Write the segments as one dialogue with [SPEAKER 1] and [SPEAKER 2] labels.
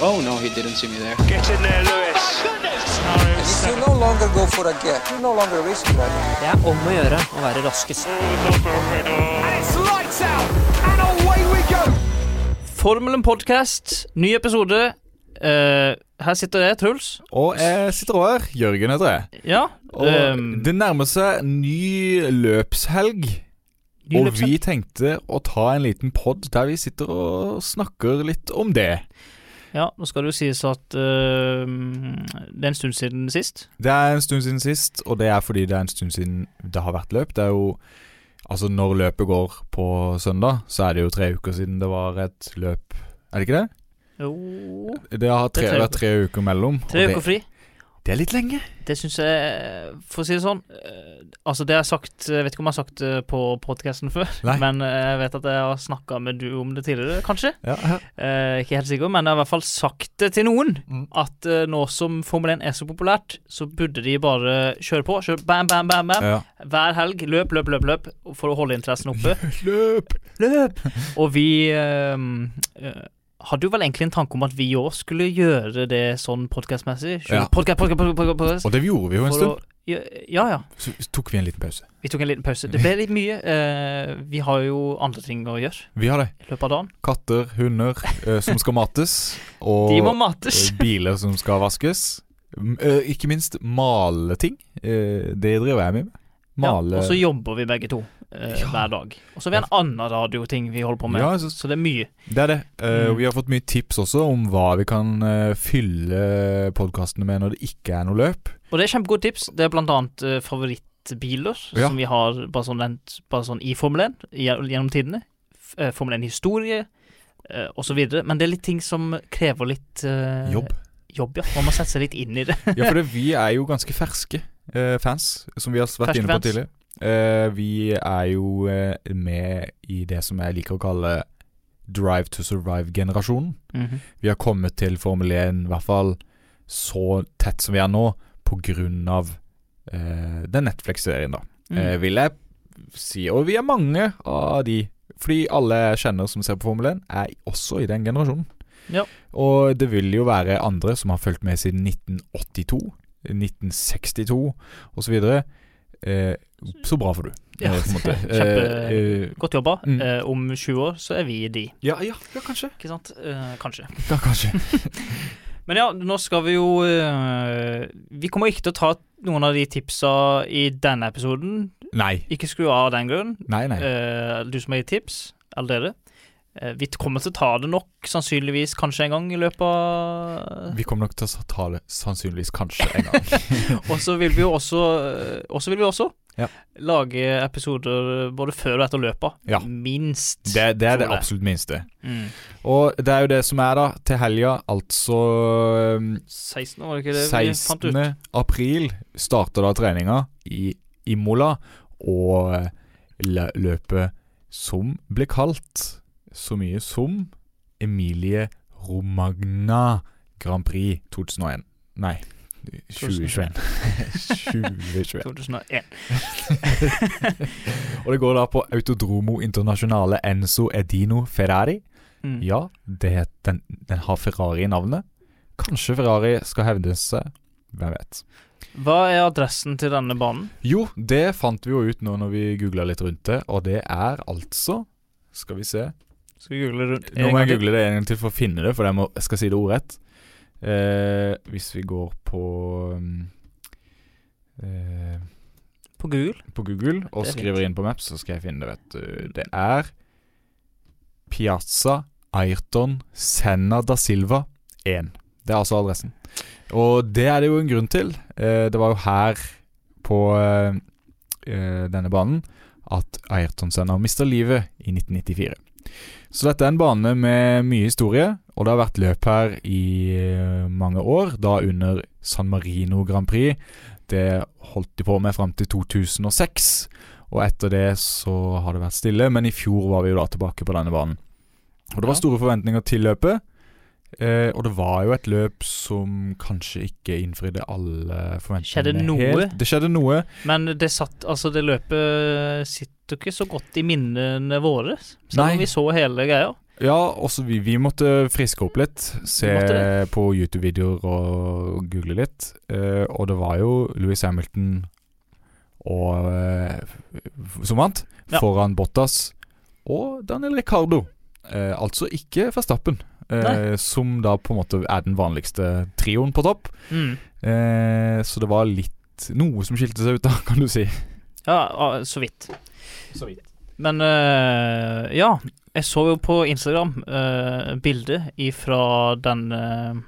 [SPEAKER 1] Oh no, he didn't see me there.
[SPEAKER 2] Get in there, Lewis.
[SPEAKER 3] If you no longer go for a gap, you no longer risk that.
[SPEAKER 4] Det er om å gjøre å være raskest. Formelen podcast, ny episode. Eh, her sitter jeg, Truls.
[SPEAKER 5] Og jeg sitter over. Jørgen heter jeg.
[SPEAKER 4] Ja.
[SPEAKER 5] Og
[SPEAKER 4] ehm,
[SPEAKER 5] det nærmer seg ny løpshelg.
[SPEAKER 4] ny
[SPEAKER 5] og
[SPEAKER 4] løpshelg.
[SPEAKER 5] vi tenkte å ta en liten pod der vi sitter og snakker litt om det.
[SPEAKER 4] Ja, nå skal det jo sies at eh, det er en stund siden sist.
[SPEAKER 5] Det er en stund siden sist, og det er fordi det er en stund siden det har vært løp. Det er jo Altså, når løpet går på søndag, så er det jo tre uker siden det var et løp. Er det ikke det?
[SPEAKER 4] Jo
[SPEAKER 5] Det har
[SPEAKER 4] Det
[SPEAKER 5] tre,
[SPEAKER 4] er tre
[SPEAKER 5] vært tre uker mellom.
[SPEAKER 4] Tre
[SPEAKER 5] og
[SPEAKER 4] uker fri.
[SPEAKER 5] Det, det er litt lenge.
[SPEAKER 4] Det syns jeg For å si det sånn eh, Altså, det jeg har sagt Jeg vet ikke om jeg har sagt det på podkasten før,
[SPEAKER 5] Nei.
[SPEAKER 4] men eh, jeg vet at jeg har snakka med du om det tidligere, kanskje.
[SPEAKER 5] Ja.
[SPEAKER 4] Eh, ikke helt sikker, men jeg har i hvert fall sagt det til noen.
[SPEAKER 5] Mm.
[SPEAKER 4] At eh, nå som Formel 1 er så populært, så burde de bare kjøre på. Kjøre bam, bam, bam, bam.
[SPEAKER 5] ja.
[SPEAKER 4] Hver helg. Løp, løp, løp, løp. For å holde interessen oppe.
[SPEAKER 5] Løp!
[SPEAKER 4] Løp! Og vi eh, eh, hadde jo vel egentlig en tanke om at vi òg skulle gjøre det sånn podkastmessig.
[SPEAKER 5] Ja.
[SPEAKER 4] Podcast, podcast, podcast, podcast, podcast,
[SPEAKER 5] Og det gjorde vi jo en
[SPEAKER 4] for å,
[SPEAKER 5] stund.
[SPEAKER 4] ja, ja.
[SPEAKER 5] Så tok vi en liten pause.
[SPEAKER 4] Vi tok en liten pause. Det ble litt mye. eh, vi har jo andre ting å gjøre
[SPEAKER 5] Vi har det.
[SPEAKER 4] i løpet av dagen.
[SPEAKER 5] Katter, hunder eh, som skal mates, og
[SPEAKER 4] De må mates.
[SPEAKER 5] eh, biler som skal vaskes. M- eh, ikke minst male ting. Eh, det driver jeg med. Male
[SPEAKER 4] Ja, og så jobber vi begge to eh, hver dag. Og så har vi en annen radioting vi holder på med.
[SPEAKER 5] Ja, jeg synes-
[SPEAKER 4] Så det er mye.
[SPEAKER 5] Det er det. Eh,
[SPEAKER 4] Mm.
[SPEAKER 5] Vi har fått mye tips også om hva vi kan eh, fylle podkastene med når det ikke er noe løp.
[SPEAKER 4] Og det er kjempegode tips. Det er blant annet eh, favorittbiler
[SPEAKER 5] Ja.
[SPEAKER 4] som vi har bare sånn, rent- bare sånn i Formel 1 i- gjennom tidene. F- eh, Formel 1-historie eh, og så videre. Men det er litt ting som krever litt eh,
[SPEAKER 5] Jobb.
[SPEAKER 4] jobb, ja. Man må sette seg litt inn i det.
[SPEAKER 5] Ja, for det, vi er jo ganske ferske eh, fans, som vi har vært
[SPEAKER 4] Ferske
[SPEAKER 5] inne på
[SPEAKER 4] fans.
[SPEAKER 5] tidligere. Eh, vi er jo eh, med i det som jeg liker å kalle Drive to survive-generasjonen. vi har kommet til Formel 1, i hvert fall så tett som vi er nå, på grunn av eh, den Netflix-serien, da.
[SPEAKER 4] Mm.
[SPEAKER 5] Eh, vil jeg si. Og vi er mange av de. Fordi alle jeg kjenner som ser på Formel 1, er også i den generasjonen.
[SPEAKER 4] Ja.
[SPEAKER 5] Og det vil jo være andre som har fulgt med siden 1982, 1962 osv. Eh, så bra for du.
[SPEAKER 4] Ja,
[SPEAKER 5] eh, på en måte.
[SPEAKER 4] kjempe-
[SPEAKER 5] Eh, eh,
[SPEAKER 4] Godt jobba.
[SPEAKER 5] Mm.
[SPEAKER 4] Eh, om 20 år så er vi de,
[SPEAKER 5] ja, ja, ja, kanskje.
[SPEAKER 4] ikke sant? Eh, kanskje.
[SPEAKER 5] Ja, kanskje.
[SPEAKER 4] Men ja, nå skal vi jo eh, Vi kommer ikke til å ta noen av de tipsa i denne episoden.
[SPEAKER 5] Nei.
[SPEAKER 4] Ikke skru av av den grunn.
[SPEAKER 5] Nei, nei.
[SPEAKER 4] Eh, du som har gitt tips, eller dere. Eh, vi kommer til å ta det nok, sannsynligvis kanskje en gang i løpet av
[SPEAKER 5] Vi kommer nok til å ta det sannsynligvis kanskje en gang.
[SPEAKER 4] Og så vil vi jo også, eh, også, vil vi også
[SPEAKER 5] Ja.
[SPEAKER 4] lage episoder både før og etter løpet.
[SPEAKER 5] Ja.
[SPEAKER 4] Minst.
[SPEAKER 5] Det, det er det
[SPEAKER 4] Tror jeg.
[SPEAKER 5] absolutt minste.
[SPEAKER 4] Mm.
[SPEAKER 5] Og det er jo det som er, da. Til helga, altså øhm,
[SPEAKER 4] 16. var det ikke det vi fant
[SPEAKER 5] 16.
[SPEAKER 4] ut?
[SPEAKER 5] april, starter da treninga i Imola. Og eh, lø- løpet som ble kalt så mye som Emilie Romagna Grand Prix 2001. Nei, 2021. 2021.
[SPEAKER 4] 2001.
[SPEAKER 5] Og det går da på Autodromo Internasjonale Enzo Edino Ferrari.
[SPEAKER 4] Mm.
[SPEAKER 5] Ja, det het, den, den har Ferrari i navnet. Kanskje Ferrari skal hevde seg. Hvem vet.
[SPEAKER 4] Hva er adressen til denne banen?
[SPEAKER 5] Jo, det fant vi jo ut nå når vi googla litt rundt det, og det er altså Skal vi se
[SPEAKER 4] Skal vi google rundt?
[SPEAKER 5] Nå
[SPEAKER 4] en
[SPEAKER 5] må
[SPEAKER 4] gang
[SPEAKER 5] jeg
[SPEAKER 4] til?
[SPEAKER 5] google det en gang til for å finne det, for jeg, må, jeg skal si det ordrett. Eh, hvis vi går på mm, eh,
[SPEAKER 4] På Google?
[SPEAKER 5] på Google
[SPEAKER 4] Det
[SPEAKER 5] og
[SPEAKER 4] er fint.
[SPEAKER 5] skriver inn på Maps, så skal jeg finne det, vet du. Det er Piazza Ayrton Senna da Silva 1. Det er altså adressen. Og det er det jo en grunn til. Eh, Det var jo her på eh, eh, denne banen at Ayrton Senna mista livet i 1994. Så dette er en bane med mye historie, og det har vært løp her i eh, mange år, da under San Marino Grand Prix. Det holdt de på med fram til 2006, og etter det så har det vært stille. Men i fjor var vi jo da tilbake på denne banen. Og det
[SPEAKER 4] Ja.
[SPEAKER 5] var store forventninger til løpet. Eh, og det var jo et løp som kanskje ikke innfridde alle forventningene.
[SPEAKER 4] Skjedde noe?
[SPEAKER 5] Helt. Det skjedde noe.
[SPEAKER 4] Men det satt Altså, det løpet sitter ikke så godt i minnene våre. Selv om
[SPEAKER 5] Nei.
[SPEAKER 4] vi så hele greia.
[SPEAKER 5] Ja, også vi, vi måtte friske opp litt. Se
[SPEAKER 4] Vi måtte
[SPEAKER 5] på YouTube-videoer og google litt. Eh, og det var jo Louis Hamilton og eh, f- som vant,
[SPEAKER 4] Ja.
[SPEAKER 5] foran Bottas og Daniel Ricardo. Eh, altså ikke Verstappen, eh,
[SPEAKER 4] Nei.
[SPEAKER 5] som da på en måte er den vanligste trioen på topp.
[SPEAKER 4] Mm.
[SPEAKER 5] Eh, så det var litt noe som skilte seg ut, da, kan du si.
[SPEAKER 4] Ja, ah, så vidt. Men eh, ja, jeg så jo på Instagram uh, bildet ifra den eh,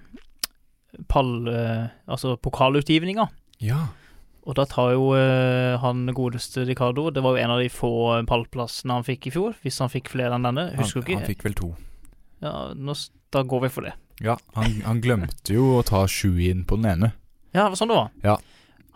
[SPEAKER 4] pall... eh, altså pokalutgivninga.
[SPEAKER 5] Ja.
[SPEAKER 4] Og da tar jo eh, han godeste Ricardo Det var jo en av de få pallplassene han fikk i fjor. Hvis han fikk flere enn denne, husker
[SPEAKER 5] han,
[SPEAKER 4] du
[SPEAKER 5] Han
[SPEAKER 4] ikke?
[SPEAKER 5] fikk vel to.
[SPEAKER 4] Ja, nå, s- da går vi for det.
[SPEAKER 5] Ja, han, han glemte jo å ta sju inn på den ene.
[SPEAKER 4] Ja, det var sånn det var.
[SPEAKER 5] Ja.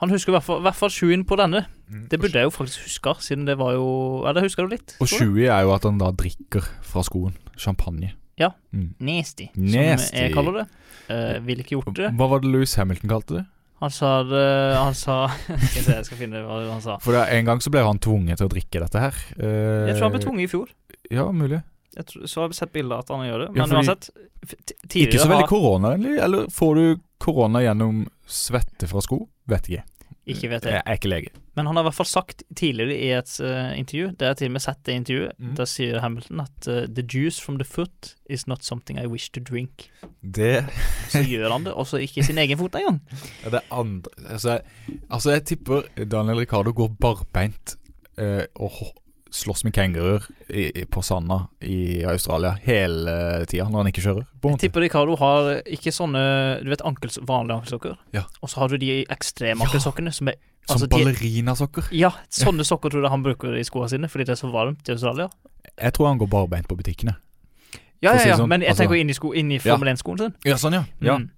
[SPEAKER 4] Han husker i hvert fall- i hvert fall sjuen på denne. Det
[SPEAKER 5] Og
[SPEAKER 4] burde jeg jo faktisk huske, siden det var jo Ja, det husker du litt.
[SPEAKER 5] Og
[SPEAKER 4] tror jeg.
[SPEAKER 5] 20 er jo at han da drikker fra skoen. Champagne.
[SPEAKER 4] Ja.
[SPEAKER 5] Mm.
[SPEAKER 4] Nasty,
[SPEAKER 5] Nasty.
[SPEAKER 4] som jeg kaller det. Uh, ville ikke gjort det.
[SPEAKER 5] Hva var det Louis Hamilton kalte det?
[SPEAKER 4] Han sa det Han sa Skal vi se, jeg skal finne hva han sa.
[SPEAKER 5] For det, En gang så ble han tvunget til å drikke dette her. Eh,
[SPEAKER 4] Jeg tror han ble tvunget i fjor.
[SPEAKER 5] Ja, mulig.
[SPEAKER 4] Jeg tror, så har jeg sett bilder at han gjør det. Men
[SPEAKER 5] Ja, fordi-
[SPEAKER 4] uansett f- ti-
[SPEAKER 5] Ikke
[SPEAKER 4] tidligere
[SPEAKER 5] så veldig
[SPEAKER 4] har-
[SPEAKER 5] koronavennlig. Eller får du korona gjennom svette fra sko? Vet ikke.
[SPEAKER 4] Ikke vet jeg.
[SPEAKER 5] Jeg er ikke lege.
[SPEAKER 4] Men han har i hvert fall sagt tidligere i et eh, intervju, det er til og med sett det intervjuet,
[SPEAKER 5] Mhm.
[SPEAKER 4] der sier Hamilton at eh, 'the juice from the foot is not something I wish to drink'.
[SPEAKER 5] Det
[SPEAKER 4] Så gjør han det, og så ikke i sin egen fot engang.
[SPEAKER 5] Ja, det er andre altså jeg, altså, jeg tipper Daniel Ricardo går barbeint eh, og ho- slåss med kenguruer i- i- på sanda i Australia hele tida når han ikke kjører. På en
[SPEAKER 4] Jeg
[SPEAKER 5] måte.
[SPEAKER 4] tipper Ricardo har ikke sånne Du vet ankels, vanlige ankelsokker?
[SPEAKER 5] Ja.
[SPEAKER 4] Og så har du de ekstreme
[SPEAKER 5] Ja.
[SPEAKER 4] ankelsokkene som er
[SPEAKER 5] Som
[SPEAKER 4] altså, de-
[SPEAKER 5] ballerinasokker.
[SPEAKER 4] Ja, sånne sokker tror jeg han bruker i skoene sine fordi det er så varmt i Australia.
[SPEAKER 5] Jeg tror han går barbeint på butikkene.
[SPEAKER 4] Ja,
[SPEAKER 5] For å
[SPEAKER 4] ja,
[SPEAKER 5] si
[SPEAKER 4] ja,
[SPEAKER 5] det sånn,
[SPEAKER 4] men jeg
[SPEAKER 5] altså-
[SPEAKER 4] tenker inn i, sko, inn i
[SPEAKER 5] Ja.
[SPEAKER 4] Formel 1-skoen sin.
[SPEAKER 5] Ja, sånn, ja. Ja,
[SPEAKER 4] Mm.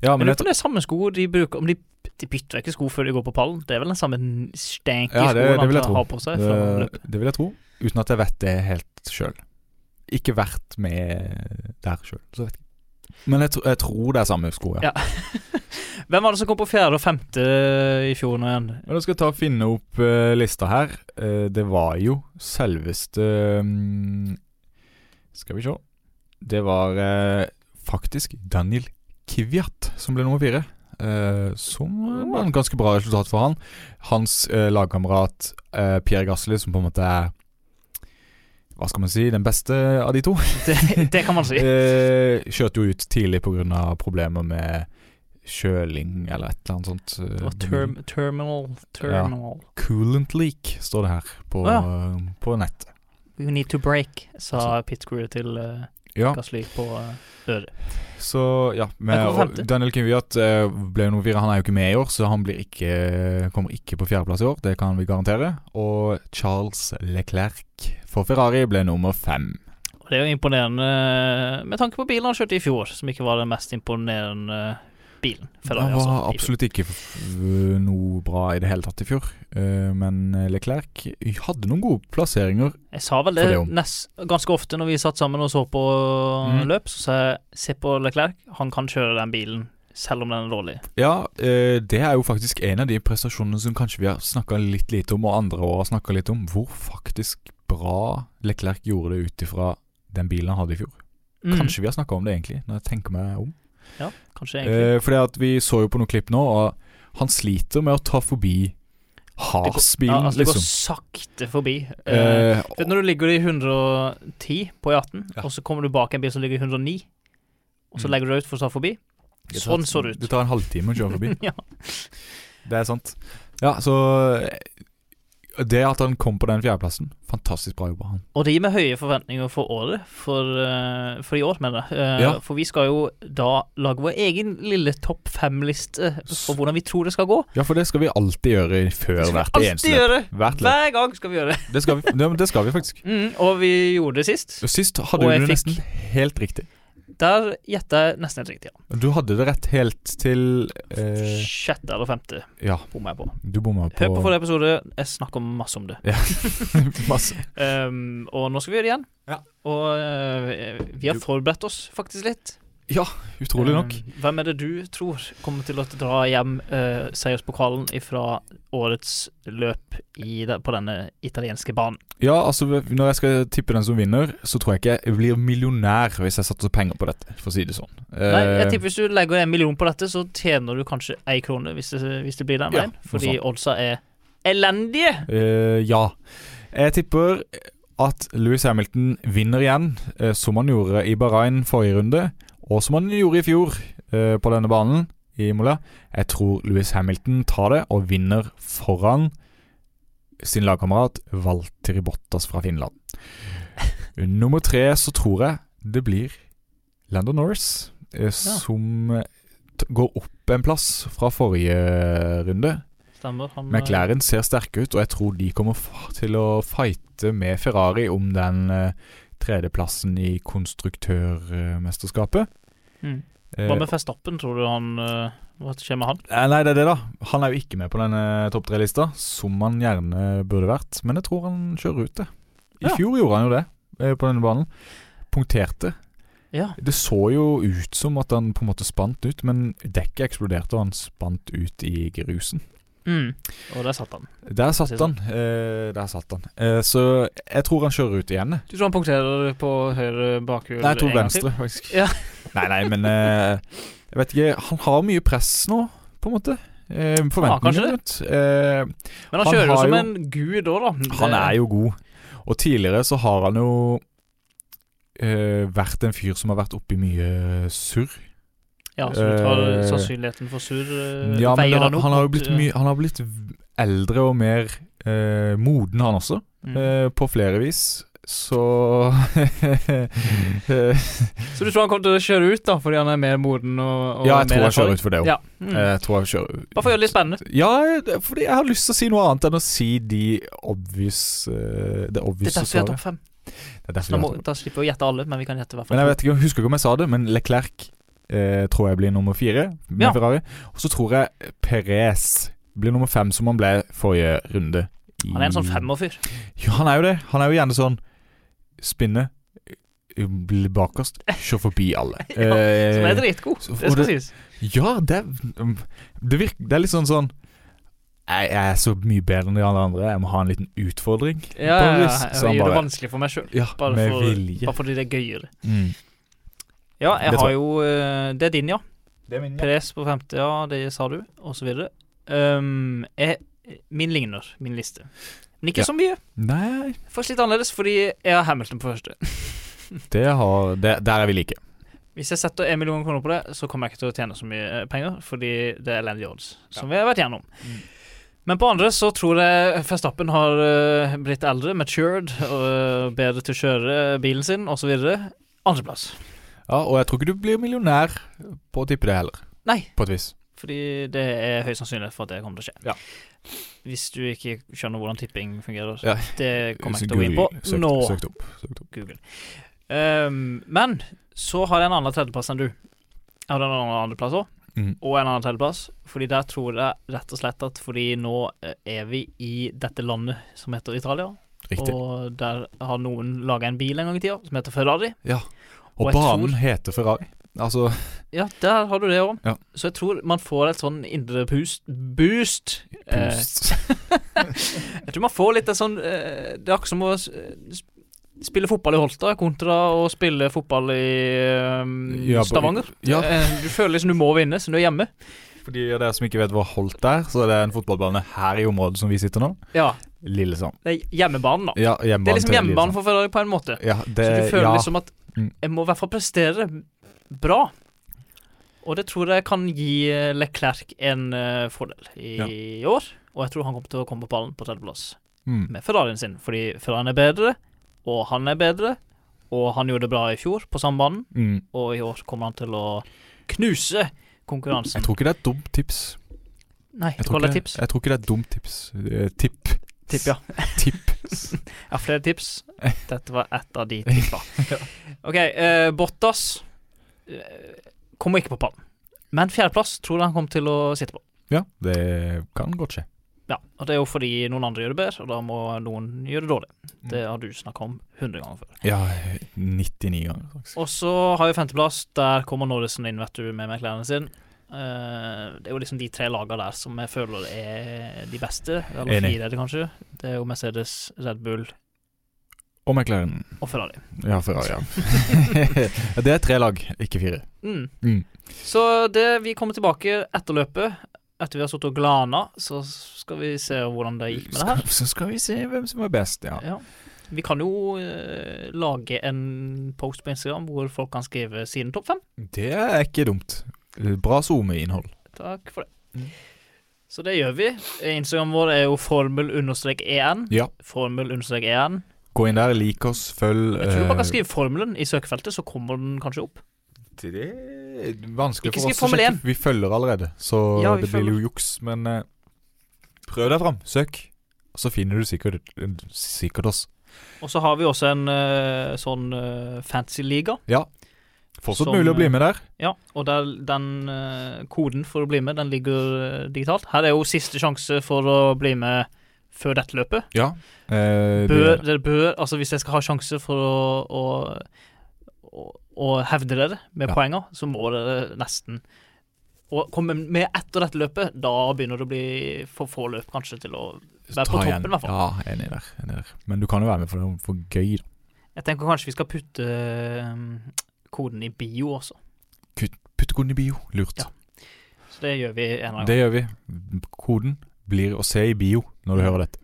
[SPEAKER 5] ja
[SPEAKER 4] Men
[SPEAKER 5] men
[SPEAKER 4] jeg
[SPEAKER 5] jeg,
[SPEAKER 4] tror det er samme sko de bruker Om de, de bytter ikke sko før de går på pallen. Det er vel den samme n- stenke
[SPEAKER 5] Ja, det-
[SPEAKER 4] skoen
[SPEAKER 5] det vil jeg
[SPEAKER 4] han
[SPEAKER 5] tro.
[SPEAKER 4] har på seg. fra
[SPEAKER 5] det,
[SPEAKER 4] løpet.
[SPEAKER 5] Eh, det vil jeg tro, uten at jeg vet det helt sjøl. Ikke vært med der sjøl, så vet jeg ikke. Men jeg, tro, jeg tror det er samme sko, ja.
[SPEAKER 4] Ja. Hvem var det som kom på fjerde og femte i fjor nå igjen?
[SPEAKER 5] Men da skal jeg ta og finne opp eh, lista her. Eh, det var jo selveste mm, Skal vi se. Det var eh, faktisk Daniel Kviat som ble nummer fire. Eh, som var en ganske bra resultat for han. Hans eh, lagkamerat eh, Pierre Gasli, som på en måte er Hva skal man si? Den beste av de to.
[SPEAKER 4] Det, det kan man si.
[SPEAKER 5] Eh, kjørte jo ut tidlig pga. problemer med kjøling eller et eller annet sånt.
[SPEAKER 4] Det
[SPEAKER 5] eh,
[SPEAKER 4] var term, terminal Terminal.
[SPEAKER 5] Coolant leak, står det her på,
[SPEAKER 4] Å,
[SPEAKER 5] på nettet.
[SPEAKER 4] You need to break, sa pit crew til uh,
[SPEAKER 5] Altså- Ja,
[SPEAKER 4] Gasly på eh, øret.
[SPEAKER 5] så ja med,
[SPEAKER 4] Jeg kom på
[SPEAKER 5] og
[SPEAKER 4] femte.
[SPEAKER 5] Daniel Kiviat eh, ble jo nummer fire. Han er jo ikke med i år, så han blir ikke, kommer ikke på fjerdeplass i år. Det kan vi garantere. Og Charles Leclerc for Ferrari ble nummer fem.
[SPEAKER 4] Og det er jo imponerende eh, med tanke på bilen han kjørte i fjor, som ikke var den mest imponerende bilen. Ferrari,
[SPEAKER 5] han var
[SPEAKER 4] altså, i fjor.
[SPEAKER 5] absolutt ikke f- noe bra i det hele tatt i fjor. Eh, men Leclerc hadde noen gode plasseringer.
[SPEAKER 4] Jeg sa vel det,
[SPEAKER 5] For det om.
[SPEAKER 4] nest, ganske ofte når vi satt sammen og så på
[SPEAKER 5] Mm.
[SPEAKER 4] løp, så sa jeg se på Leclerc, han kan kjøre den bilen selv om den er dårlig.
[SPEAKER 5] Ja, eh, det er jo faktisk en av de prestasjonene som kanskje vi har snakka litt lite om, og andre år har snakka litt om, hvor faktisk bra Leclerc gjorde det ut ifra den bilen han hadde i fjor.
[SPEAKER 4] Mm.
[SPEAKER 5] Kanskje vi har snakka om det, egentlig, når jeg tenker meg om.
[SPEAKER 4] Kanskje egentlig.
[SPEAKER 5] Eh, fordi at vi så jo på noen klipp nå, og han sliter med å ta forbi
[SPEAKER 4] ja,
[SPEAKER 5] Haas-bilen,
[SPEAKER 4] altså, det går
[SPEAKER 5] liksom.
[SPEAKER 4] sakte forbi. Eh,
[SPEAKER 5] Eh,
[SPEAKER 4] vet du når du ligger i 110 på E18,
[SPEAKER 5] Ja.
[SPEAKER 4] og så kommer du bak en bil som ligger i 109, og så
[SPEAKER 5] Mm.
[SPEAKER 4] legger du deg ut for å ta forbi?
[SPEAKER 5] det tar-
[SPEAKER 4] Sånn så det ut.
[SPEAKER 5] Det tar en halvtime å kjøre forbi.
[SPEAKER 4] ja.
[SPEAKER 5] Det er sant. Ja, så eh, Det at han kom på den fjerdeplassen, fantastisk bra jobba, han.
[SPEAKER 4] Og det gir meg høye forventninger for året, for, eh, for i år, mener jeg. Eh,
[SPEAKER 5] Ja.
[SPEAKER 4] For vi skal jo da lage vår egen lille topp fem-liste for hvordan vi tror det skal gå.
[SPEAKER 5] Ja, for det skal vi alltid gjøre før
[SPEAKER 4] Det skal
[SPEAKER 5] hvert
[SPEAKER 4] vi
[SPEAKER 5] eneste
[SPEAKER 4] alltid gjøre!
[SPEAKER 5] Hvert løp.
[SPEAKER 4] Hver gang skal vi gjøre det.
[SPEAKER 5] Det skal vi, det, det skal vi faktisk.
[SPEAKER 4] Mm, og vi gjorde det sist.
[SPEAKER 5] Sist
[SPEAKER 4] Og
[SPEAKER 5] hadde du
[SPEAKER 4] jeg
[SPEAKER 5] det
[SPEAKER 4] fikk-
[SPEAKER 5] nesten helt riktig.
[SPEAKER 4] Der gjetta jeg nesten helt riktig. Ja.
[SPEAKER 5] Du hadde det rett helt til eh,
[SPEAKER 4] Sjette eller femte
[SPEAKER 5] Ja,
[SPEAKER 4] bomma jeg på.
[SPEAKER 5] du bomma på
[SPEAKER 4] Hør på forrige episode, jeg snakker masse om det.
[SPEAKER 5] masse.
[SPEAKER 4] Um, og nå skal vi gjøre det igjen.
[SPEAKER 5] Ja.
[SPEAKER 4] Og eh, vi har
[SPEAKER 5] Du-
[SPEAKER 4] forberedt oss faktisk litt.
[SPEAKER 5] Ja, utrolig nok.
[SPEAKER 4] Eh, Hvem er det du tror kommer til å dra hjem eh, seierspokalen ifra årets løp i, de- på denne italienske banen?
[SPEAKER 5] Ja, altså Når jeg skal tippe den som vinner, så tror jeg ikke jeg blir millionær hvis jeg satser penger på dette, for å si det sånn.
[SPEAKER 4] Nei, jeg
[SPEAKER 5] Eh,
[SPEAKER 4] tipper Hvis du legger en million på dette, så tjener du kanskje ei krone, hvis det, hvis det blir den
[SPEAKER 5] Ja,
[SPEAKER 4] veien.
[SPEAKER 5] noe
[SPEAKER 4] Fordi oddsa er elendige!
[SPEAKER 5] eh, ja. Jeg tipper at Louis Hamilton vinner igjen, eh, som han gjorde i Bahrain forrige runde, og som han gjorde i fjor eh, på denne banen i Imola. Jeg tror Louis Hamilton tar det og vinner foran sin lagkamerat Valtteri Bottas fra Finland. Nummer tre så tror jeg det blir Lando Norris, eh, som eh, t- går opp en plass fra forrige runde.
[SPEAKER 4] Stemmer. Han, eh,
[SPEAKER 5] McLaren ser sterke ut, og jeg tror de kommer f- til å fighte med Ferrari om den eh, tredjeplassen i konstruktørmesterskapet.
[SPEAKER 4] Mm.
[SPEAKER 5] Eh,
[SPEAKER 4] Hva med Festappen, tror du han eh, Hva skjer med han?
[SPEAKER 5] eh, nei, det er det, da. Han er jo ikke med på denne eh, topp tre-lista, som han gjerne burde vært. Men jeg tror han kjører ut, det. I
[SPEAKER 4] Ja.
[SPEAKER 5] fjor gjorde han jo det eh, på denne banen. Punkterte.
[SPEAKER 4] Ja,
[SPEAKER 5] Det så jo ut som at han på en måte spant ut, men dekket eksploderte, og han spant ut i grusen.
[SPEAKER 4] mm. og der satt han.
[SPEAKER 5] Der satt
[SPEAKER 4] Si det
[SPEAKER 5] han. Eh, der satt han. Eh, så jeg tror han kjører ut igjen. jeg.
[SPEAKER 4] Du tror han punkterer på høyre bakhjul?
[SPEAKER 5] Nei, jeg tror
[SPEAKER 4] en gang
[SPEAKER 5] venstre,
[SPEAKER 4] til?
[SPEAKER 5] faktisk.
[SPEAKER 4] Ja.
[SPEAKER 5] nei, nei, men eh, Jeg vet ikke. Han har mye press nå, på en måte. Eh,
[SPEAKER 4] kanskje
[SPEAKER 5] Forventninger rundt. Eh,
[SPEAKER 4] Men han,
[SPEAKER 5] Han
[SPEAKER 4] kjører jo
[SPEAKER 5] har
[SPEAKER 4] som
[SPEAKER 5] jo-
[SPEAKER 4] en gud òg, da.
[SPEAKER 5] han er jo god. Og tidligere så har han jo eh, vært en fyr som har vært oppi mye surr.
[SPEAKER 4] Ja, så du tar
[SPEAKER 5] Eh,
[SPEAKER 4] sannsynligheten for sur eh,
[SPEAKER 5] Ja, men
[SPEAKER 4] veier
[SPEAKER 5] han,
[SPEAKER 4] den opp
[SPEAKER 5] han har jo
[SPEAKER 4] mot,
[SPEAKER 5] blitt,
[SPEAKER 4] eh,
[SPEAKER 5] mye- han har blitt v- eldre og mer eh, moden, han også.
[SPEAKER 4] mm.
[SPEAKER 5] Eh, på flere vis. Så
[SPEAKER 4] Mm.
[SPEAKER 5] eh,
[SPEAKER 4] Så du tror han kommer til å kjøre ut, da, fordi han er mer moden og, og
[SPEAKER 5] Ja, jeg tror
[SPEAKER 4] mer
[SPEAKER 5] jeg kjører ut Eh, for det òg.
[SPEAKER 4] Ja. Mm.
[SPEAKER 5] Jeg tror jeg kjører
[SPEAKER 4] Bare for å gjøre det litt spennende.
[SPEAKER 5] Ja, det- fordi jeg har lyst til å si noe annet enn å si de obvious eh, Det
[SPEAKER 4] Det er
[SPEAKER 5] obvious
[SPEAKER 4] derfor vi har
[SPEAKER 5] svaret.
[SPEAKER 4] topp fem.
[SPEAKER 5] Det er derfor
[SPEAKER 4] Så da,
[SPEAKER 5] vi
[SPEAKER 4] må,
[SPEAKER 5] har topp.
[SPEAKER 4] da slipper vi å gjette alle, men vi kan gjette i hvert
[SPEAKER 5] Men
[SPEAKER 4] fall.
[SPEAKER 5] jeg vet ikke, jeg husker ikke om jeg sa det, men Leclerc eh, tror jeg blir nummer fire med
[SPEAKER 4] Ja.
[SPEAKER 5] Ferrari. Og så tror jeg Perez blir nummer fem, som han ble forrige runde. i-
[SPEAKER 4] Han er en sånn femmerfyr.
[SPEAKER 5] Ja, han er jo det. Han er jo gjerne sånn spinne, eh, bli bakerst, kjør forbi alle.
[SPEAKER 4] Ja,
[SPEAKER 5] Eh,
[SPEAKER 4] Som er dritgod,
[SPEAKER 5] så-
[SPEAKER 4] det
[SPEAKER 5] og
[SPEAKER 4] skal
[SPEAKER 5] det-
[SPEAKER 4] sies.
[SPEAKER 5] Ja, det er- Det, virker, det er litt sånn sånn jeg, jeg er så mye bedre enn de alle andre. Jeg må ha en liten utfordring.
[SPEAKER 4] Ja, ja, ja,
[SPEAKER 5] Boris, så
[SPEAKER 4] jeg gjør
[SPEAKER 5] han
[SPEAKER 4] det
[SPEAKER 5] bare-
[SPEAKER 4] vanskelig for meg sjøl.
[SPEAKER 5] Ja,
[SPEAKER 4] Bare
[SPEAKER 5] med
[SPEAKER 4] for-
[SPEAKER 5] vilje.
[SPEAKER 4] Bare fordi det er gøyere.
[SPEAKER 5] Mm.
[SPEAKER 4] Ja, jeg
[SPEAKER 5] Det tror
[SPEAKER 4] har
[SPEAKER 5] jeg.
[SPEAKER 4] jo eh, Det er din, ja. Perez på femte, ja, det sa du, og så videre. Um, jeg, min ligner, min liste. Men ikke
[SPEAKER 5] Ja.
[SPEAKER 4] så mye.
[SPEAKER 5] Nei,
[SPEAKER 4] Faktisk litt annerledes, fordi jeg har Hamilton på første.
[SPEAKER 5] det har det, Der er vi like.
[SPEAKER 4] Hvis jeg setter en million kroner på det, så kommer jeg ikke til å tjene så mye eh, penger, fordi det er elendige odds, som vi har vært gjennom.
[SPEAKER 5] Mm.
[SPEAKER 4] Men på andre så tror jeg Verstappen har eh, blitt eldre, matured, og eh, bedre til å kjøre bilen sin, osv. Andreplass.
[SPEAKER 5] Ja, Og jeg tror ikke du blir millionær på å tippe det heller.
[SPEAKER 4] Nei.
[SPEAKER 5] På et vis.
[SPEAKER 4] Fordi det er høy sannsynlighet for at det kommer til å skje.
[SPEAKER 5] Ja.
[SPEAKER 4] Hvis du ikke skjønner hvordan tipping fungerer.
[SPEAKER 5] Ja.
[SPEAKER 4] Det kommer jeg ikke
[SPEAKER 5] Så
[SPEAKER 4] til å gå inn på
[SPEAKER 5] Guri søkte-
[SPEAKER 4] nå.
[SPEAKER 5] søkte opp. søkte opp.
[SPEAKER 4] Google. Ehm, men så har jeg en annen tredjeplass enn du. Jeg har en annen andreplass òg,
[SPEAKER 5] Mm.
[SPEAKER 4] og en annen tredjeplass. Fordi der tror jeg rett og slett at fordi nå eh, er vi i dette landet som heter Italia,
[SPEAKER 5] Riktig.
[SPEAKER 4] og der har noen laga en bil en gang i tida som heter Ferrari.
[SPEAKER 5] ja.
[SPEAKER 4] og
[SPEAKER 5] Og,
[SPEAKER 4] jeg
[SPEAKER 5] banen
[SPEAKER 4] tror-
[SPEAKER 5] heter Ferrari. Altså
[SPEAKER 4] Ja, der har du det òg.
[SPEAKER 5] Ja.
[SPEAKER 4] Så jeg tror man får et sånn indre pust boost. Eh,
[SPEAKER 5] Pust.
[SPEAKER 4] jeg tror man får litt en sånn eh, Det er akkurat som å s- s- spille fotball i Holta kontra å spille fotball i eh,
[SPEAKER 5] Ja, på-
[SPEAKER 4] Stavanger.
[SPEAKER 5] Ja.
[SPEAKER 4] Eh, Du føler liksom du må vinne, så du er hjemme.
[SPEAKER 5] For de av dere som ikke vet hva Holt er, så er det en fotballbane her i området som vi sitter nå.
[SPEAKER 4] Ja,
[SPEAKER 5] Lillesand.
[SPEAKER 4] det er hjemmebanen, da.
[SPEAKER 5] Ja, hjemmebane
[SPEAKER 4] Det er liksom
[SPEAKER 5] til
[SPEAKER 4] hjemmebanen
[SPEAKER 5] Lillesand.
[SPEAKER 4] for Ferrari på en måte.
[SPEAKER 5] Ja, det,
[SPEAKER 4] Så du føler
[SPEAKER 5] ja.
[SPEAKER 4] liksom at
[SPEAKER 5] Mm.
[SPEAKER 4] jeg må i hvert fall prestere bra. Og det tror jeg kan gi eh, Leclerc en eh, fordel i år. Og jeg tror han kommer til å komme på ballen på tredjeplass
[SPEAKER 5] Mm.
[SPEAKER 4] med Ferrarien sin, fordi Ferrarien er bedre, og han er bedre. Og han gjorde det bra i fjor på samme banen,
[SPEAKER 5] Mm.
[SPEAKER 4] og i år kommer han til å knuse konkurransen.
[SPEAKER 5] Jeg tror ikke det er et dumt tips.
[SPEAKER 4] Nei,
[SPEAKER 5] Jeg
[SPEAKER 4] det
[SPEAKER 5] tror,
[SPEAKER 4] var
[SPEAKER 5] ikke,
[SPEAKER 4] et tips.
[SPEAKER 5] jeg tror ikke det er et dumt tips. Eh, tipp.
[SPEAKER 4] Tipp, ja.
[SPEAKER 5] Tips.
[SPEAKER 4] Jeg har flere tips. Dette var ett av de tippa. OK, eh, Bottas eh, kommer ikke på pallen. Men fjerdeplass tror jeg han kommer til å sitte på.
[SPEAKER 5] Ja, det kan godt skje.
[SPEAKER 4] Ja, og det er jo fordi noen andre gjør det bedre, og da må noen gjøre det dårlig. Det har du snakka om 100 ganger før.
[SPEAKER 5] Ja, 99 ganger, faktisk.
[SPEAKER 4] Og så har vi femteplass. Der kommer Norrison inn, vet du, med McLaren sin. Eh, det er jo liksom de tre lagene der som jeg føler er de beste. Eller
[SPEAKER 5] Enig.
[SPEAKER 4] fire, er det kanskje. Det er jo Mercedes, Red Bull
[SPEAKER 5] Og McLaren.
[SPEAKER 4] og Ferrari.
[SPEAKER 5] Ja, Ferrari. Ja. Ja, det er tre lag, ikke fire.
[SPEAKER 4] Mm.
[SPEAKER 5] Mm.
[SPEAKER 4] Så det, vi kommer tilbake etter løpet. Etter vi har sittet og glana, så skal vi se hvordan det gikk med det her.
[SPEAKER 5] Skal, så skal vi se hvem som er best, ja.
[SPEAKER 4] Ja. Vi kan jo eh, lage en post på Instagram hvor folk kan skrive sine topp fem.
[SPEAKER 5] Det er ikke dumt. Bra SoMe-innhold.
[SPEAKER 4] Takk for det.
[SPEAKER 5] Mm.
[SPEAKER 4] Så det gjør vi. Instagram vår er jo E formel-en.
[SPEAKER 5] Ja.
[SPEAKER 4] Formel-en.
[SPEAKER 5] Gå inn der, lik oss, følg
[SPEAKER 4] E Jeg tror du bare kan skrive formelen i søkefeltet, så kommer den kanskje opp.
[SPEAKER 5] eh, Det er vanskelig
[SPEAKER 4] Ikke
[SPEAKER 5] for
[SPEAKER 4] skriv
[SPEAKER 5] oss å
[SPEAKER 4] Formel
[SPEAKER 5] sjekke.
[SPEAKER 4] 1.
[SPEAKER 5] Vi følger allerede, så
[SPEAKER 4] Ja, vi
[SPEAKER 5] det blir jo juks. Men eh, prøv deg fram. Søk. Så finner du sikkert, sikkert oss.
[SPEAKER 4] Og så har vi også en eh, sånn eh, fantasy-liga.
[SPEAKER 5] Fortsatt
[SPEAKER 4] Som, eh,
[SPEAKER 5] mulig å bli med der.
[SPEAKER 4] Ja, og der, den eh, koden for å bli med, den ligger eh, digitalt. Her er jo siste sjanse for å bli med før dette løpet.
[SPEAKER 5] Ja. Eh, det
[SPEAKER 4] Bør,
[SPEAKER 5] gjør det.
[SPEAKER 4] dere bør, altså hvis dere skal ha sjanse for å, å, å, å hevde dere med
[SPEAKER 5] Ja.
[SPEAKER 4] poenger, så må dere nesten og komme med etter dette løpet. Da begynner det å bli for få løp, kanskje, til å Vær på
[SPEAKER 5] Ta
[SPEAKER 4] toppen, i hvert fall.
[SPEAKER 5] Ja, enig der, enig der. Men du kan jo være med, for det er for gøy. da.
[SPEAKER 4] Jeg tenker kanskje vi skal putte eh, koden i bio også.
[SPEAKER 5] Putt koden i bio. Lurt.
[SPEAKER 4] Ja. Så det gjør vi en eller annen gang.
[SPEAKER 5] Det gjør vi. Koden blir å se i bio når du hører dette.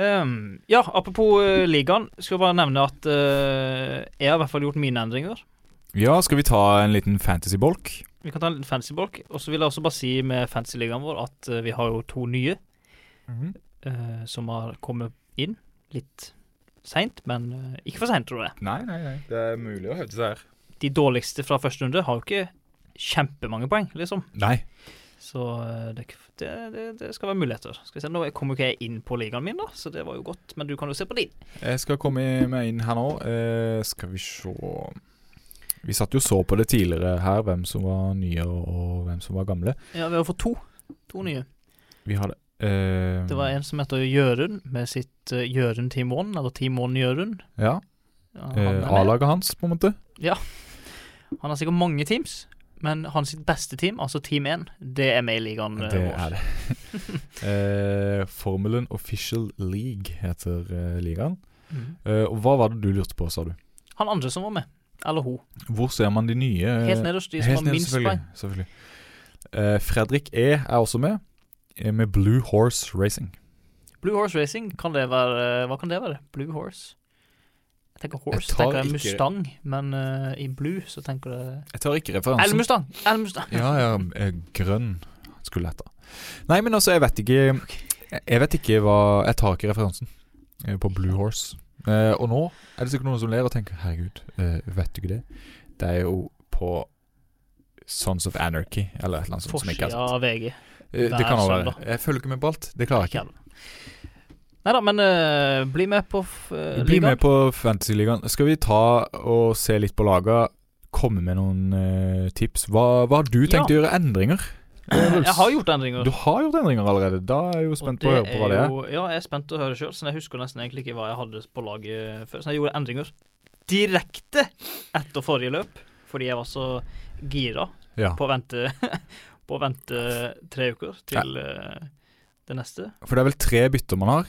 [SPEAKER 4] Ehm, ja, apropos eh, ligaen, skal jeg bare nevne at eh, jeg har i hvert fall gjort mine endringer.
[SPEAKER 5] Ja, skal vi ta en liten fantasy-bolk?
[SPEAKER 4] Vi kan ta en liten fancy bolk. Og så vil jeg også bare si med fancy-ligaen vår at eh, vi har jo to nye
[SPEAKER 5] Mhm.
[SPEAKER 4] eh, som har kommet inn litt seint, men eh, ikke for seint, tror jeg.
[SPEAKER 5] Nei, nei, nei. Det er mulig å hevde seg her.
[SPEAKER 4] De dårligste fra første runde har jo ikke kjempemange poeng, liksom.
[SPEAKER 5] Nei.
[SPEAKER 4] Så eh, det, er ikke- det, det, det skal være muligheter. Skal vi se, Nå kom jo ikke jeg inn på ligaen min, da, så det var jo godt. Men du kan jo se på din.
[SPEAKER 5] Jeg skal komme meg inn her nå. Eh, skal vi se Vi satt jo og så på det tidligere her, hvem som var nye og, og hvem som var gamle.
[SPEAKER 4] Ja, vi har fått to. To nye.
[SPEAKER 5] Vi hadde eh,
[SPEAKER 4] Det var en som heter Jørund, med sitt uh, Jørund Team One, eller Team One Jørund.
[SPEAKER 5] Ja.
[SPEAKER 4] Ja, han,
[SPEAKER 5] Eh,
[SPEAKER 4] er med.
[SPEAKER 5] A-laget hans, på en måte.
[SPEAKER 4] han har sikkert mange teams, men han sitt beste team, altså Team 1, det er med i ligaen eh,
[SPEAKER 5] Det
[SPEAKER 4] vår.
[SPEAKER 5] er det. eh, Formelen Official League heter eh, ligaen.
[SPEAKER 4] Mhm.
[SPEAKER 5] Eh, og hva var det du lurte på, sa du?
[SPEAKER 4] Han andre som var med, eller hun,
[SPEAKER 5] Hvor ser man de nye? eh,
[SPEAKER 4] helt nederst, de som
[SPEAKER 5] Helt
[SPEAKER 4] har
[SPEAKER 5] ned,
[SPEAKER 4] minst
[SPEAKER 5] selvfølgelig,
[SPEAKER 4] poeng.
[SPEAKER 5] selvfølgelig. Eh, Fredrik E er også med, eh, med Blue Horse Racing.
[SPEAKER 4] Blue Horse Racing, kan det være, eh, hva kan det være? Blue Horse? Jeg tenker Horse,
[SPEAKER 5] Jeg tar
[SPEAKER 4] tenker jeg
[SPEAKER 5] ikke-
[SPEAKER 4] Mustang, men eh, i Blue så tenker jeg
[SPEAKER 5] Jeg tar ikke
[SPEAKER 4] Eller
[SPEAKER 5] referansen.
[SPEAKER 4] Mustang! Eller Mustang!
[SPEAKER 5] Ja, ja, eh, grønn skulle jeg ta. Nei, men altså, jeg vet ikke jeg- Jeg vet ikke hva Jeg tar ikke referansen eh, på Blue Horse. Eh, og nå er det sikkert noen som ler og tenker Herregud, eh, vet du ikke det? Det er jo på Sons of Anarchy, eller et eller annet sånt som jeg ikke
[SPEAKER 4] Forsida
[SPEAKER 5] har sett.
[SPEAKER 4] av VG.
[SPEAKER 5] Eh, Det
[SPEAKER 4] hver
[SPEAKER 5] kan også
[SPEAKER 4] søndag.
[SPEAKER 5] være. Jeg følger ikke med på alt. Det klarer jeg ikke.
[SPEAKER 4] Nei da, men eh, bli med på f- eh,
[SPEAKER 5] Bli
[SPEAKER 4] ligaen.
[SPEAKER 5] med på Fantasyligaen. Skal vi ta og se litt på laga? Komme med noen eh, tips. Hva, hva har du tenkt å gjøre endringer?
[SPEAKER 4] Jeg har gjort endringer.
[SPEAKER 5] Du har gjort endringer allerede. Da er jeg jo spent på å høre på hva det er.
[SPEAKER 4] jo- Ja, jeg er spent til å høre sjøl, så jeg husker nesten egentlig ikke hva jeg hadde på laget før. Så jeg gjorde endringer direkte etter forrige løp, fordi jeg var så gira
[SPEAKER 5] Ja,
[SPEAKER 4] på å vente, på å vente tre uker til eh, det neste.
[SPEAKER 5] For det er vel tre bytter man har.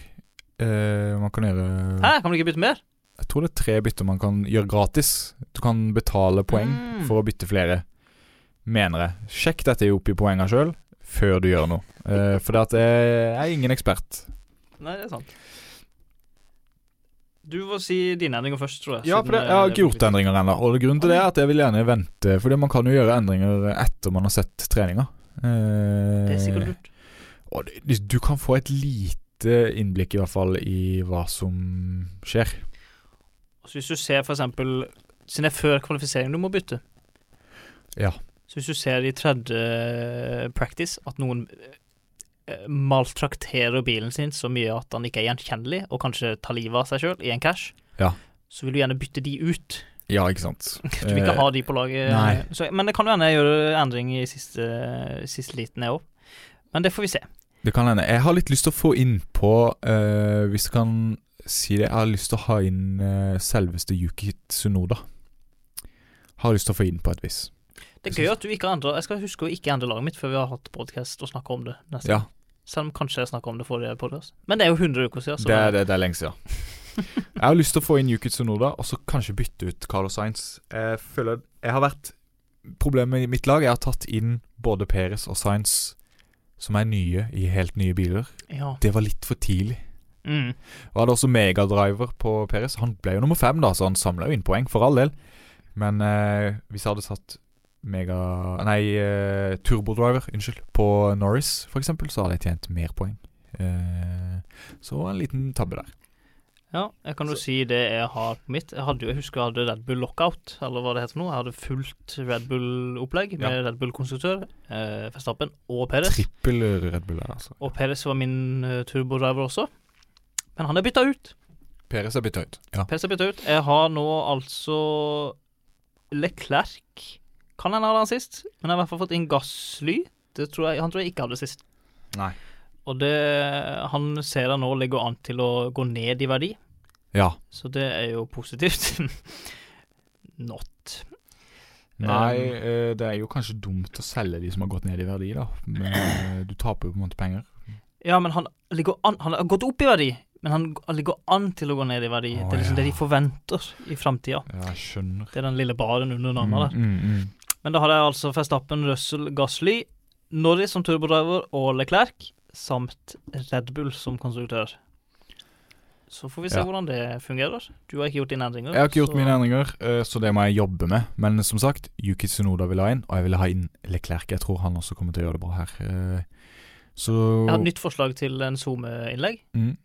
[SPEAKER 5] Eh, man kan gjøre
[SPEAKER 4] Hæ, kan man ikke bytte mer?
[SPEAKER 5] Jeg tror det er tre bytter man kan gjøre gratis. Du kan betale poeng
[SPEAKER 4] Mm.
[SPEAKER 5] for å bytte flere, mener jeg. Sjekk dette opp i poenga sjøl før du gjør noe. Eh, for det at jeg er ingen ekspert.
[SPEAKER 4] Nei, det er sant. Du får si dine endringer først, tror jeg.
[SPEAKER 5] Ja,
[SPEAKER 4] siden,
[SPEAKER 5] for det, jeg
[SPEAKER 4] eh,
[SPEAKER 5] har
[SPEAKER 4] det
[SPEAKER 5] ikke gjort
[SPEAKER 4] blir-
[SPEAKER 5] endringer ennå. Og grunnen til det er at jeg vil gjerne vente, Fordi man kan jo gjøre endringer etter man har sett treninga. Eh,
[SPEAKER 4] Det er sikkert lurt.
[SPEAKER 5] og du, du kan få et lite innblikk, i hvert fall, i hva som skjer.
[SPEAKER 4] Så hvis du ser for eksempel Siden det er før kvalifisering du må bytte
[SPEAKER 5] Ja.
[SPEAKER 4] Så hvis du ser i tredje eh, practice at noen eh, maltrakterer bilen sin så mye at han ikke er gjenkjennelig, og kanskje tar livet av seg sjøl i en crash,
[SPEAKER 5] Ja.
[SPEAKER 4] så vil du gjerne bytte de ut.
[SPEAKER 5] Ja, ikke sant.
[SPEAKER 4] Du vil ikke ha de på laget.
[SPEAKER 5] Eh, nei.
[SPEAKER 4] Så, men det kan jo hende jeg gjør endring i siste, siste liten, jeg òg. Men det får vi se.
[SPEAKER 5] Det kan hende. Jeg har litt lyst til å få innpå, uh, hvis du kan si det Jeg har lyst til å ha inn eh, selveste Yuki Tsunoda. Har lyst til å få inn på et vis.
[SPEAKER 4] Det er gøy at du ikke har endret Jeg skal huske å ikke endre laget mitt før vi har hatt podcast og snakke om det neste
[SPEAKER 5] Ja,
[SPEAKER 4] Selv om kanskje jeg snakker om det forrige podcast. Men det er jo 100 uker siden. Så
[SPEAKER 5] det er, det, det er lenge siden. Jeg har lyst til å få inn Yuki Tsunoda, og så kanskje bytte ut Carlos Sainz. Jeg føler Jeg har vært Problemet i mitt lag Jeg har tatt inn både Perez og Sainz, som er nye i helt nye biler.
[SPEAKER 4] Ja.
[SPEAKER 5] Det var litt for tidlig.
[SPEAKER 4] Mm.
[SPEAKER 5] Og hadde også megadriver på Perez. Han ble jo nummer fem, da, så han samla jo inn poeng, for all del. Men eh, hvis jeg hadde satt mega Nei, eh, turbodriver, unnskyld, på Norris, for eksempel, så hadde jeg tjent mer poeng. Eh, så en liten tabbe der.
[SPEAKER 4] ja. Jeg kan jo si det jeg har på mitt. Jeg hadde jo, jeg husker jeg hadde Red Bull Lockout, eller hva det heter for noe. Jeg hadde fullt Red Bull-opplegg med Red Bull-konstruktør, eh, Verstappen og Perez.
[SPEAKER 5] Trippel Red Bull der, altså.
[SPEAKER 4] Og Perez var min eh, turbodriver også. Men han er bytta ut.
[SPEAKER 5] Perez er bytta ut. Ja.
[SPEAKER 4] Perez er bytta ut. Jeg har nå altså Leclerc. Kan hende jeg hadde han sist, men jeg har i hvert fall fått inn gassly. Det tror jeg, han tror jeg ikke hadde sist.
[SPEAKER 5] Nei.
[SPEAKER 4] Og det, han ser da nå ligger an til å gå ned i verdi,
[SPEAKER 5] Ja.
[SPEAKER 4] så det er jo positivt. Not.
[SPEAKER 5] Nei,
[SPEAKER 4] Um,
[SPEAKER 5] eh, det er jo kanskje dumt å selge de som har gått ned i verdi, da. Men eh, du taper jo på en måte penger.
[SPEAKER 4] Ja, men han ligger an Han har gått opp i verdi, men han, han ligger an til å gå ned i verdi.
[SPEAKER 5] Å,
[SPEAKER 4] det er liksom
[SPEAKER 5] ja.
[SPEAKER 4] det de forventer i framtida.
[SPEAKER 5] Ja, jeg skjønner.
[SPEAKER 4] Det er den lille baren under
[SPEAKER 5] Mm,
[SPEAKER 4] navnet der.
[SPEAKER 5] mm, mm.
[SPEAKER 4] Men da har jeg altså Verstappen, Russell, Gasly, Norris som turbodriver og Leclerc, samt Red Bull som konstruktør. Så får vi se
[SPEAKER 5] Ja.
[SPEAKER 4] hvordan det fungerer. Du har ikke gjort dine endringer.
[SPEAKER 5] Jeg har ikke gjort
[SPEAKER 4] så-
[SPEAKER 5] mine endringer, eh, så det må jeg jobbe med. Men som sagt, Yuki Tsunoda vil ha inn, og jeg vil ha inn Leclerc. Jeg tror han også kommer til å gjøre det bra her. Eh, Så
[SPEAKER 4] Jeg har et nytt forslag til en SoMe-innlegg.
[SPEAKER 5] Mm,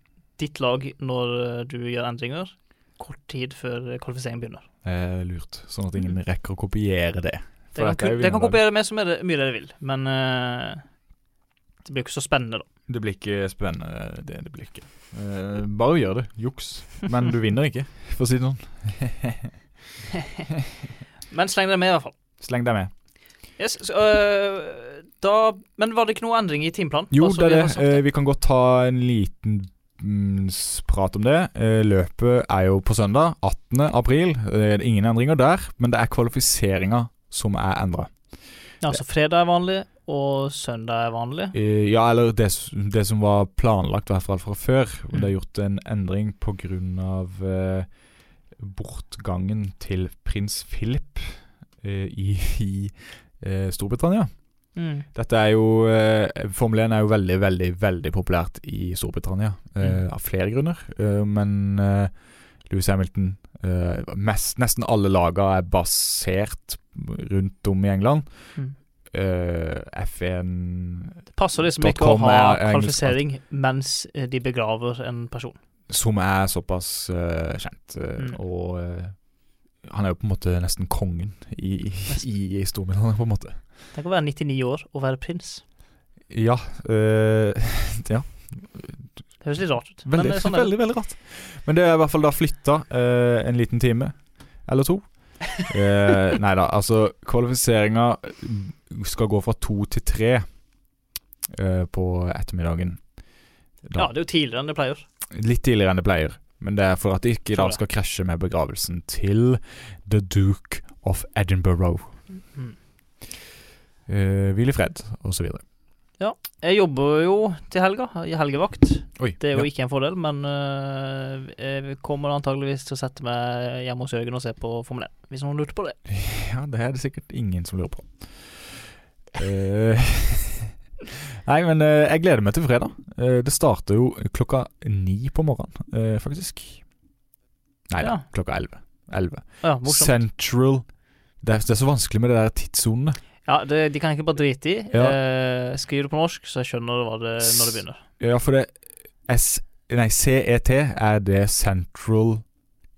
[SPEAKER 4] ditt lag når eh, du gjør endringer, kort tid før eh, kvalifiseringen begynner.
[SPEAKER 5] eh, lurt, sånn at ingen rekker å kopiere det. For
[SPEAKER 4] Dere
[SPEAKER 5] dette er
[SPEAKER 4] kan,
[SPEAKER 5] jo
[SPEAKER 4] ku- dere kan
[SPEAKER 5] vinnerlag.
[SPEAKER 4] kopiere med så mye, mye dere vil, men eh, det blir jo ikke så spennende, da.
[SPEAKER 5] Det blir ikke spennende, det det blir ikke. Eh, Bare gjør det. Juks. Men du vinner ikke, for å si det sånn.
[SPEAKER 4] Men sleng dere med, i hvert fall.
[SPEAKER 5] Sleng deg med.
[SPEAKER 4] Yes, så, eh, da, men var det ikke noe endring i timeplanen?
[SPEAKER 5] Jo,
[SPEAKER 4] Bare så
[SPEAKER 5] det er
[SPEAKER 4] vi har
[SPEAKER 5] det.
[SPEAKER 4] sagt
[SPEAKER 5] Eh, Vi kan godt ta en liten mm, s- prat om det. Eh, Løpet er jo på søndag, 18. april. Eh, Det er ingen endringer der, men det er kvalifiseringa som er endra.
[SPEAKER 4] Ja, altså fredag er vanlig, og søndag er vanlig.
[SPEAKER 5] Eh, Ja, eller det, s- det som var planlagt, i hvert fall fra før. Og
[SPEAKER 4] Mm.
[SPEAKER 5] det er gjort en endring pga. Eh, bortgangen til prins Philip eh, i, i eh, Storbritannia.
[SPEAKER 4] Mm.
[SPEAKER 5] Dette er jo eh, Formel 1 er jo veldig, veldig veldig populært i Storbritannia. eh,
[SPEAKER 4] Mm.
[SPEAKER 5] Av flere grunner. Eh, men eh, Louis Hamilton eh, mest, Nesten alle lagene er basert rundt om i England.
[SPEAKER 4] Mm.
[SPEAKER 5] Eh, F1
[SPEAKER 4] Det passer liksom ikke å
[SPEAKER 5] .com
[SPEAKER 4] ha
[SPEAKER 5] er- er engelsk.
[SPEAKER 4] kvalifisering mens eh, de begraver en person.
[SPEAKER 5] som er såpass eh, kjent. eh,
[SPEAKER 4] Mm.
[SPEAKER 5] Og eh, han er jo på en måte nesten kongen i, i, i Storbritannia, på en måte.
[SPEAKER 4] Tenk å være 99 år og være prins.
[SPEAKER 5] Ja. eh, ja.
[SPEAKER 4] Det høres litt rart ut.
[SPEAKER 5] Veldig,
[SPEAKER 4] men eh, sånn er det.
[SPEAKER 5] veldig, veldig rart. Men det er i hvert fall da flytta eh, en liten time eller to. Eh, nei da, altså kvalifiseringa skal gå fra to til tre eh, på ettermiddagen. Da.
[SPEAKER 4] Ja, det er jo tidligere enn det pleier.
[SPEAKER 5] Litt tidligere enn det pleier. Men det er for at det ikke da
[SPEAKER 4] Tror jeg.
[SPEAKER 5] skal krasje med begravelsen til The Duke of Edinburgh.
[SPEAKER 4] Mm.
[SPEAKER 5] Eh, hvil i fred, osv.
[SPEAKER 4] Jeg jobber jo til helga, i helgevakt.
[SPEAKER 5] Oi.
[SPEAKER 4] Det er jo
[SPEAKER 5] ja.
[SPEAKER 4] ikke en fordel, men øh, jeg kommer antageligvis til å sette meg hjemme hos Jørgen og se på Formel 1, hvis noen lurte på det.
[SPEAKER 5] ja, det er det sikkert ingen som lurer på. Eh, nei, men eh, jeg gleder meg til fredag. Eh, det starter jo klokka ni på morgenen, eh, faktisk. Nei da,
[SPEAKER 4] Ja.
[SPEAKER 5] klokka elleve. Elleve.
[SPEAKER 4] Å Ja, morsomt.
[SPEAKER 5] Central det er, det er så vanskelig med de der tidssonene.
[SPEAKER 4] Ja, det, de kan jeg ikke bare drite i.
[SPEAKER 5] Ja.
[SPEAKER 4] Eh, Jeg skriver det på norsk, så jeg skjønner hva det, når det begynner.
[SPEAKER 5] Ja, for det S, Nei, CET er det Central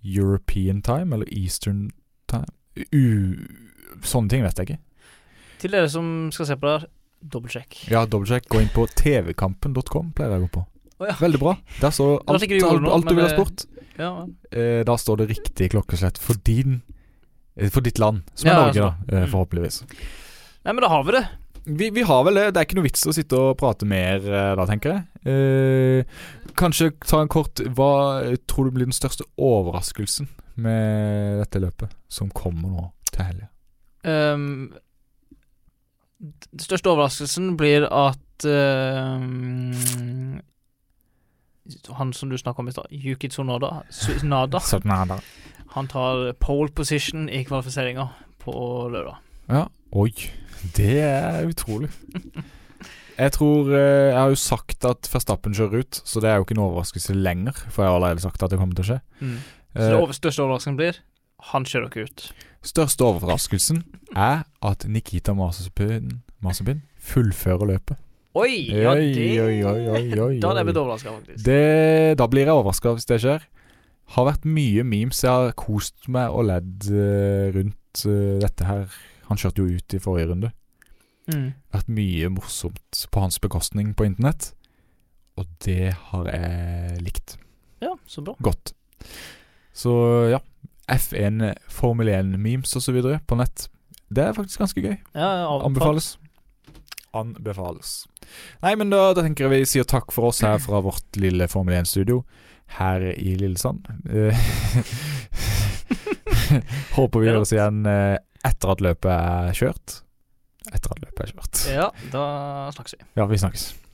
[SPEAKER 5] European Time, eller Eastern Time U, Sånne ting vet jeg ikke.
[SPEAKER 4] Til dere som skal se på det her, dobbeltsjekk.
[SPEAKER 5] Ja, dobbeltsjekk. Gå inn på tvkampen.com, pleier jeg å gå på.
[SPEAKER 4] Å ja.
[SPEAKER 5] Veldig bra. Der står
[SPEAKER 4] Da
[SPEAKER 5] alt,
[SPEAKER 4] fikk du gjort
[SPEAKER 5] alt,
[SPEAKER 4] noe,
[SPEAKER 5] alt du
[SPEAKER 4] men
[SPEAKER 5] vil ha
[SPEAKER 4] det-
[SPEAKER 5] sport.
[SPEAKER 4] Ja, men-
[SPEAKER 5] Eh, da står det riktig klokkeslett for din eh, For ditt land, som er
[SPEAKER 4] Ja,
[SPEAKER 5] Norge,
[SPEAKER 4] ja,
[SPEAKER 5] da, eh,
[SPEAKER 4] Mm.
[SPEAKER 5] forhåpentligvis.
[SPEAKER 4] Nei, men da har vi det.
[SPEAKER 5] vi, vi har vel det. Det er ikke noe vits å sitte og prate mer eh, da, tenker jeg. Eh, kanskje ta en kort Hva tror du blir den største overraskelsen med dette løpet, som kommer nå til helga?
[SPEAKER 4] Ehm, d- Den største overraskelsen blir at ehm, Han som du snakka om i stad, Yuki Tsunoda, Tsunoda
[SPEAKER 5] Sånn er det.
[SPEAKER 4] han tar pole position i kvalifiseringa på lørdag.
[SPEAKER 5] Ja. Oi. Det er utrolig. Jeg tror eh, Jeg har jo sagt at Verstappen kjører ut, så det er jo ikke en overraskelse lenger. For jeg har allerede sagt at det kommer til å skje.
[SPEAKER 4] Mm. Så
[SPEAKER 5] Eh,
[SPEAKER 4] det over, største overraskelsen blir han kjører ikke ut.
[SPEAKER 5] Største overraskelsen er at Nikita Masipin, Masipin fullfører løpet.
[SPEAKER 4] Oi! Ja,
[SPEAKER 5] Oi,
[SPEAKER 4] det
[SPEAKER 5] oi, oi, oi, oi,
[SPEAKER 4] Da hadde
[SPEAKER 5] oi.
[SPEAKER 4] jeg blitt overraska, faktisk.
[SPEAKER 5] Det, da blir jeg overraska hvis det skjer. Har vært mye memes. Jeg har kost meg og ledd eh, rundt eh, dette her. Han kjørte jo ut i forrige runde.
[SPEAKER 4] Mm.
[SPEAKER 5] Vært mye morsomt på hans bekostning på internett. Og det har jeg likt
[SPEAKER 4] Ja, så bra.
[SPEAKER 5] godt. Så ja. F1, Formel 1-memes osv. på nett. Det er faktisk ganske gøy.
[SPEAKER 4] Ja, anbefales.
[SPEAKER 5] Anbefales. Anbefales. Nei, men da, da tenker jeg vi sier takk for oss her fra vårt lille Formel 1-studio her i Lillesand. Eh, Håper vi
[SPEAKER 4] Ja.
[SPEAKER 5] høres igjen eh, etter at løpet er kjørt. Etter at løpet er kjørt.
[SPEAKER 4] Ja, da snakkes vi.
[SPEAKER 5] Ja, vi snakkes.